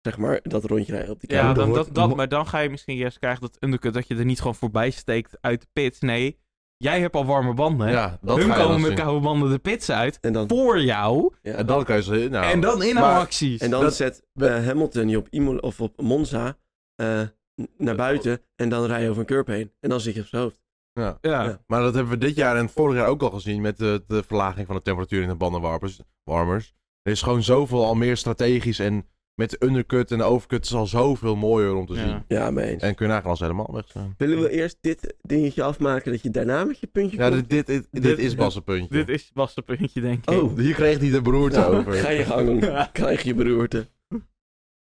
zeg maar, dat rondje rijden op die Ja, kant. dat dan, wordt- dat, dat, maar dan ga je misschien juist krijgen dat undercut dat je er niet gewoon voorbij steekt uit de pit. Nee, jij hebt al warme banden. hè? Ja, dat Hun ga je dan komen met zien. koude banden de pits uit En dan, voor jou ja. En dan kan je ze... Nou, en dan inhaalacties. en dan dat- zet eh, Hamilton je op, Imola, of op Monza eh, n- naar buiten en dan rij je over een curb heen. En dan zit je op zijn hoofd. ja. Ja. Ja. Maar dat hebben we dit jaar en vorig jaar ook al gezien met de, de verlaging van de temperatuur in de bandenwarmers. Warmers. Er is gewoon zoveel al meer strategisch en met de undercut en de overcut is al zoveel mooier om te zien. Ja. Ja, mee eens. En kun je nagaan als ze helemaal weg zijn. Eh, Willen we eerst dit dingetje afmaken, dat je daarna met je puntje Ja, komt? dit, dit, dit, dit Dit- is Bas een puntje. Dit is was het puntje, denk ik. Oh, Hier kreeg hij de beroerte Nou, over. Ga je gang, Ja. krijg je beroerte.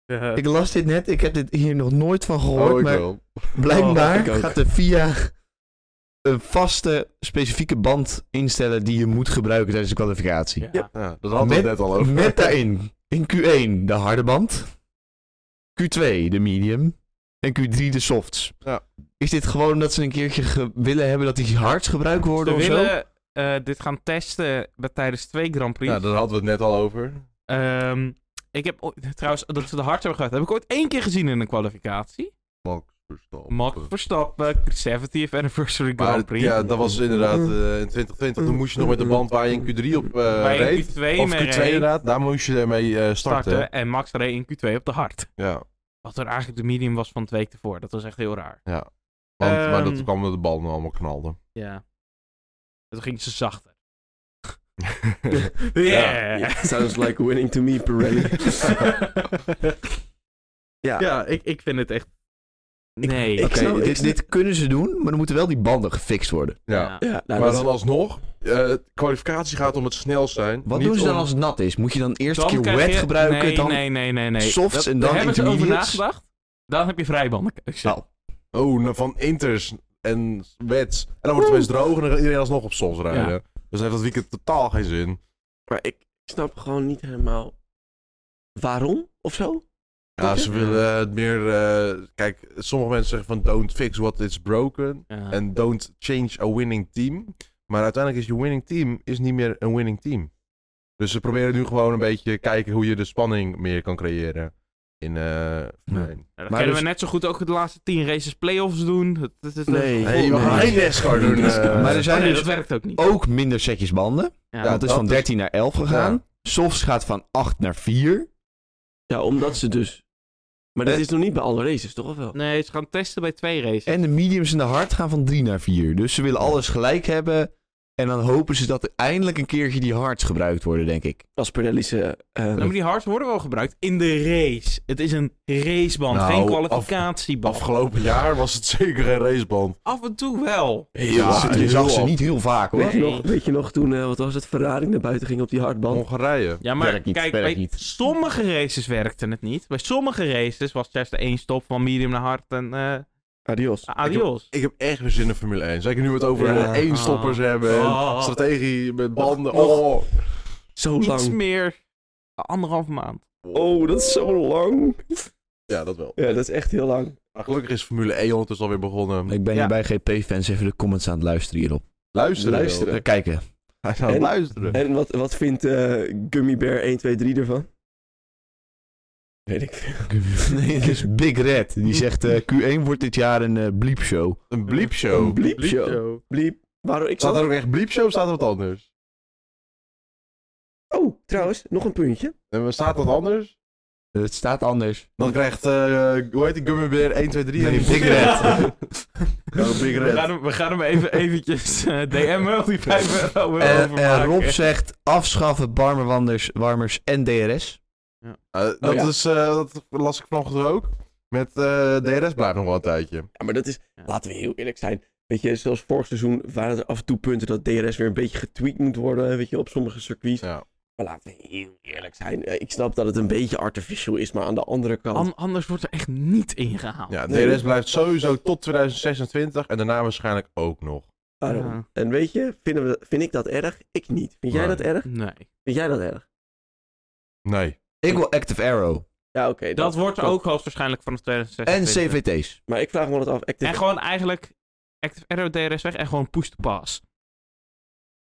Ja. Ik las dit net, ik heb dit hier nog nooit van gehoord, Oh, ik maar wel. Oh, blijkbaar ik ook. gaat de FIA een vaste, specifieke band instellen die je moet gebruiken tijdens de kwalificatie. Ja. Ja, dat hadden we het net al over. Met daarin, in Q1 de harde band, Q2 de medium en Q3 de softs. Ja. Is dit gewoon omdat ze een keertje ge- willen hebben dat die hard gebruikt Ze worden of zo? willen eh, dit gaan testen bij, tijdens twee Grand Prix. Ja, daar hadden we het net al over. Ehm, ik heb ooit- trouwens, dat ze de hard hebben gehad, heb ik ooit één keer gezien in een kwalificatie. Max Verstappen. Max Verstappen, 70th Anniversary Maar Grand Prix. Mm. Ja, dat was inderdaad eh, in 2020. Toen moest je nog met de band waar je in Q3 op eh, Waar je in reed. Q2 Of mee Q2 reed. inderdaad, daar moest je mee eh, starten. starten en Max reed in Q2 op de hard. Ja, Wat er eigenlijk de medium was van twee week tevoren. Dat was echt heel raar. want, maar dat Ehm. kwam omdat de bal allemaal knalde. Ja. Toen ging ze zachter. Yeah. sounds like winning to me, Pirelli. ja, Ja. ik, ik vind het echt... Nee. ik- Oké, snap- ik dit, snap- dit kunnen ze doen, maar dan moeten wel die banden gefixt worden. ja. ja, nou, Maar dat- dan alsnog, eh, kwalificatie gaat om het snel zijn. Wat niet doen ze dan om- als het nat is? Moet je dan eerst Dan een keer krijg wet je- gebruiken, nee, dan Nee, nee, nee, nee. softs Dat- en dan daar hebben ze over intermediates? nagedacht. Dan heb je vrijbandenkeuze. Nou, Oh, nou, van inters en wets. En dan wordt het opeens droog en dan gaat iedereen alsnog op sols rijden. Ja. Dus dan heeft dat weekend totaal geen zin. maar ik snap gewoon niet helemaal waarom of zo. Ja, ze willen eh, het meer... eh, kijk, sommige mensen zeggen van don't fix what is broken. Nou, Ja. En don't change a winning team. Maar uiteindelijk is je winning team is niet meer een winning team. Dus ze proberen nu gewoon een beetje kijken hoe je de spanning meer kan creëren. In, eh, nee. Nou, dan Maar kunnen dus- we net zo goed ook de laatste tien races playoffs doen. Het, het, het- Nee. het- Nee, we gaan geen NASCAR doen. eh. maar er zijn Oh, nee, dus dat werkt ook niet. ook minder setjes banden. Ja. dat is dat van is- 13 naar 11 gegaan. Softs gaat van 8 naar 4. Ja, omdat ze dus... Maar dat Eh. is nog niet bij alle races, toch? Of wel? Nee, ze gaan testen bij twee races. En de mediums en de hard gaan van 3 naar 4. Dus ze willen alles gelijk hebben. En dan hopen ze dat er eindelijk een keertje die hards gebruikt worden, denk ik. Als Pernellice... eh, Nou, maar die hards worden wel gebruikt in de race. Het is een raceband, Nou, geen af- kwalificatieband. Af, Afgelopen jaar was het zeker een raceband. en toe wel. Ja, Dus je zag ze heel niet heel vaak hoor. Weet je, Nee. nog, weet je nog toen, eh, wat was het, Ferrari naar buiten ging op die hardband? Oh, Hongarije. Ja, maar Werkt niet, kijk, werkt bij niet. sommige races werkte het niet. Bij sommige races was juist de één stop van medium naar hard en eh, Adios. adios. Ik heb echt weer zin in Formule 1. Zeker nu we het over Ja. eh, eenstoppers Ah. hebben. en Ah. Strategie met banden. Och, och. Oh. Zo Iets lang. meer anderhalf maand. Oh, dat is zo lang. Ja, dat wel. Ja, dat is echt heel lang. Maar gelukkig is Formule 1 ondertussen alweer begonnen. Ik ben Ja. hier bij GP-fans even de comments aan het luisteren hierop. Luisteren. Luisteren. Eh, Kijken. Hij zou En- luisteren. En wat, wat vindt eh Gummy Bear 1, 2, 3 ervan? Weet ik veel. nee, dit is Big Red. Die zegt eh, Q1 wordt dit jaar een eh bliepshow. Een bliepshow. Een bliepshow. Bliep. Waarom ik Staat zat... er ook echt bliepshow of staat er wat anders? Oh, trouwens, nog een puntje. En staat dat anders? Het staat anders. Dan krijgt, eh hoe heet die Gummy Bear 1, 2, 3 Nee, en die Big Red. Oh, Big We Red. gaan hem, we gaan hem even eventjes eh, DM'en, die 5 euro weer En, en overmaken. Eh, Rob zegt afschaffen barmerwanders, warmers en DRS. Eh, dat, Oh, ja. is, eh, dat las ik vanochtend ook. Met eh, DRS blijft nog wel een tijdje. Ja, maar dat is, Ja. laten we heel eerlijk zijn. Weet je, zelfs vorig seizoen waren er af en toe punten dat DRS weer een beetje getweakt moet worden. Weet je, op sommige circuits. Ja. Maar laten we heel eerlijk zijn. Eh, Ik snap dat het een beetje artificial is, maar aan de andere kant. An- anders wordt er echt niet ingehaald. Ja, Nee. DRS blijft sowieso tot 2026 en daarna waarschijnlijk ook nog. Waarom? Ja. eh, En weet je, vinden we, vind ik dat erg? Ik niet. Vind jij Nee. dat erg? Nee. Vind jij dat erg? Nee. Ik wil Active Arrow. Ja, oké. Dat wordt klopt. ook hoogstwaarschijnlijk vanaf En 2026. CVT's. Maar ik vraag me altijd af. Active, En gewoon eigenlijk Active Arrow DRS weg en gewoon push to pass.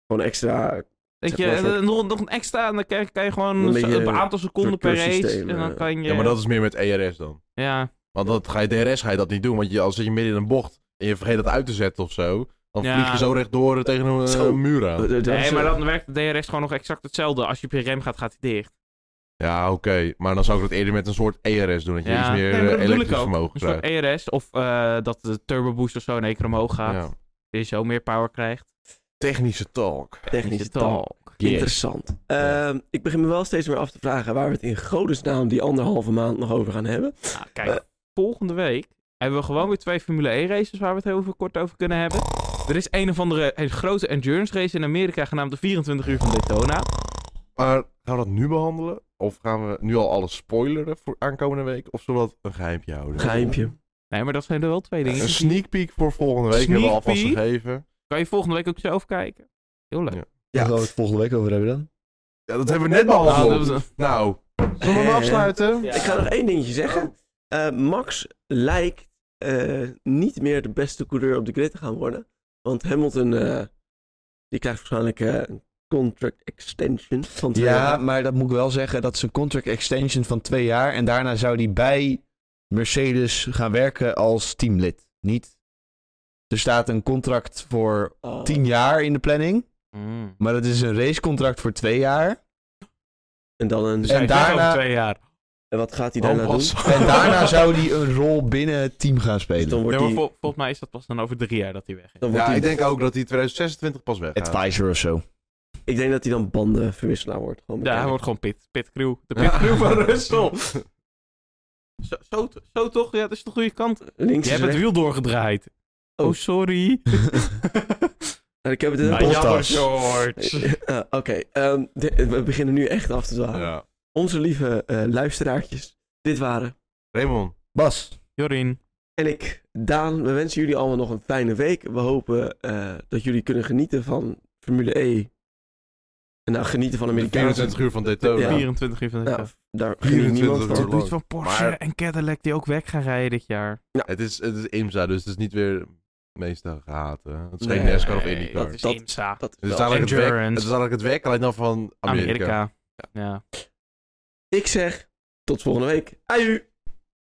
gewoon extra. eh, Weet Zeg je, maar een soort- eh, nog, nog een extra en dan kan je, kan je gewoon Een een, beetje een aantal seconden per race. cursussysteem, En dan eh. kan je... Ja, maar dat is meer met ERS dan. Ja. Want dat ga je DRS ga je dat niet doen. Want je, als zit je midden in een bocht en je vergeet dat uit te zetten of zo, dan Ja. vlieg je zo rechtdoor tegen een eh, Zo. muur aan. Dat is, Nee, maar eh, dan werkt de DRS gewoon nog exact hetzelfde. Als je op je rem gaat, gaat hij dicht. Ja, oké. Maar dan zou ik dat eerder met een soort ERS doen. Dat je Ja. iets meer Nee, maar dat eh, bedoel ik elektrisch ook. vermogen Een soort krijgt. ERS of eh, dat de turbo boost of zo in één keer omhoog gaat. Ja. Dat je zo meer power krijgt. Technische talk. technische Is het al. taal. Interessant. Ja. Ehm, ik begin me wel steeds meer af te vragen waar we het in godesnaam die anderhalve maand nog over gaan hebben. Nou, kijk, Eh. volgende week hebben we gewoon weer twee Formule 1 races waar we het heel even kort over kunnen hebben. Er is een of andere een grote endurance race in Amerika genaamd de 24 uur van Daytona. Maar gaan we dat nu behandelen? Of gaan we nu al alles spoileren voor aankomende week? Of zullen we dat een geheimpje houden? Geheimpje. Nee, maar dat zijn er wel twee dingen. Een sneak peek voor volgende week Sneak hebben we alvast peek? gegeven. Kan je volgende week ook zelf kijken? Heel leuk. Ja. Daar gaan we het volgende week over hebben dan. Ja, dat hebben we net behandeld. Nou, dat was- Nou, zullen we hem Eh, afsluiten? Ik ga nog één dingetje zeggen. Eh, Max lijkt eh, niet meer de beste coureur op de grid te gaan worden. Want Hamilton, eh, die krijgt waarschijnlijk eh, een contract extension van twee Ja, jaar. maar dat moet ik wel zeggen. Dat is een contract extension van twee jaar. En daarna zou hij bij Mercedes gaan werken als teamlid. Niet? Er staat een contract voor Oh. tien jaar in de planning. Mm. Maar dat is een racecontract voor twee jaar. En dan een... Zijn daarna- vijf over twee jaar. En wat gaat hij Oh, daarna doen? Bas. En daarna zou hij een rol binnen het team gaan Dus dan spelen. Ja, wordt maar hij... vol- volgens mij is dat pas dan over drie jaar dat hij weg is. dan wordt Ja, hij- ik denk ook dat hij 2026 pas weg gaat. Advisor of zo. ik denk dat hij dan bandenverwisselaar wordt. Gewoon Ja, meteen. hij wordt gewoon pit, pitcrew. De pitcrew van Russell. Zo, zo, zo toch? Ja, dat is de goede kant. Links Je is hebt het rechts. wiel doorgedraaid. Oh. Oh, sorry. Nou, ik heb het in Nou, de ja. jammer, Bottas. George. Eh, Oké, ehm, de- we beginnen nu echt af te dwalen. Ja. Onze lieve eh, luisteraartjes, dit waren Raymond, Bas, Jorin. en ik, Daan. We wensen jullie allemaal nog een fijne week. We hopen eh, dat jullie kunnen genieten van Formule E. En nou, genieten van Amerikaanse... 24 uur van Oh, Daytona. Ja. 24 uur van dit Nou, jaar. daar geniet niemand 24 van. uur. Circuit van Porsche Maar- en Cadillac die ook weg gaan rijden dit jaar. Het, is, het is IMSA, dus het is niet weer meestal gehaten. Het is geen Nee, NASCAR of Nee, IndyCar. Dat is Dat- IMSA. Dat Het is is wel- eigenlijk het werk, het Endurance. is eigenlijk het werk alleen dan van Amerika. Amerika. Ja. Ik zeg, tot volgende week. Aju!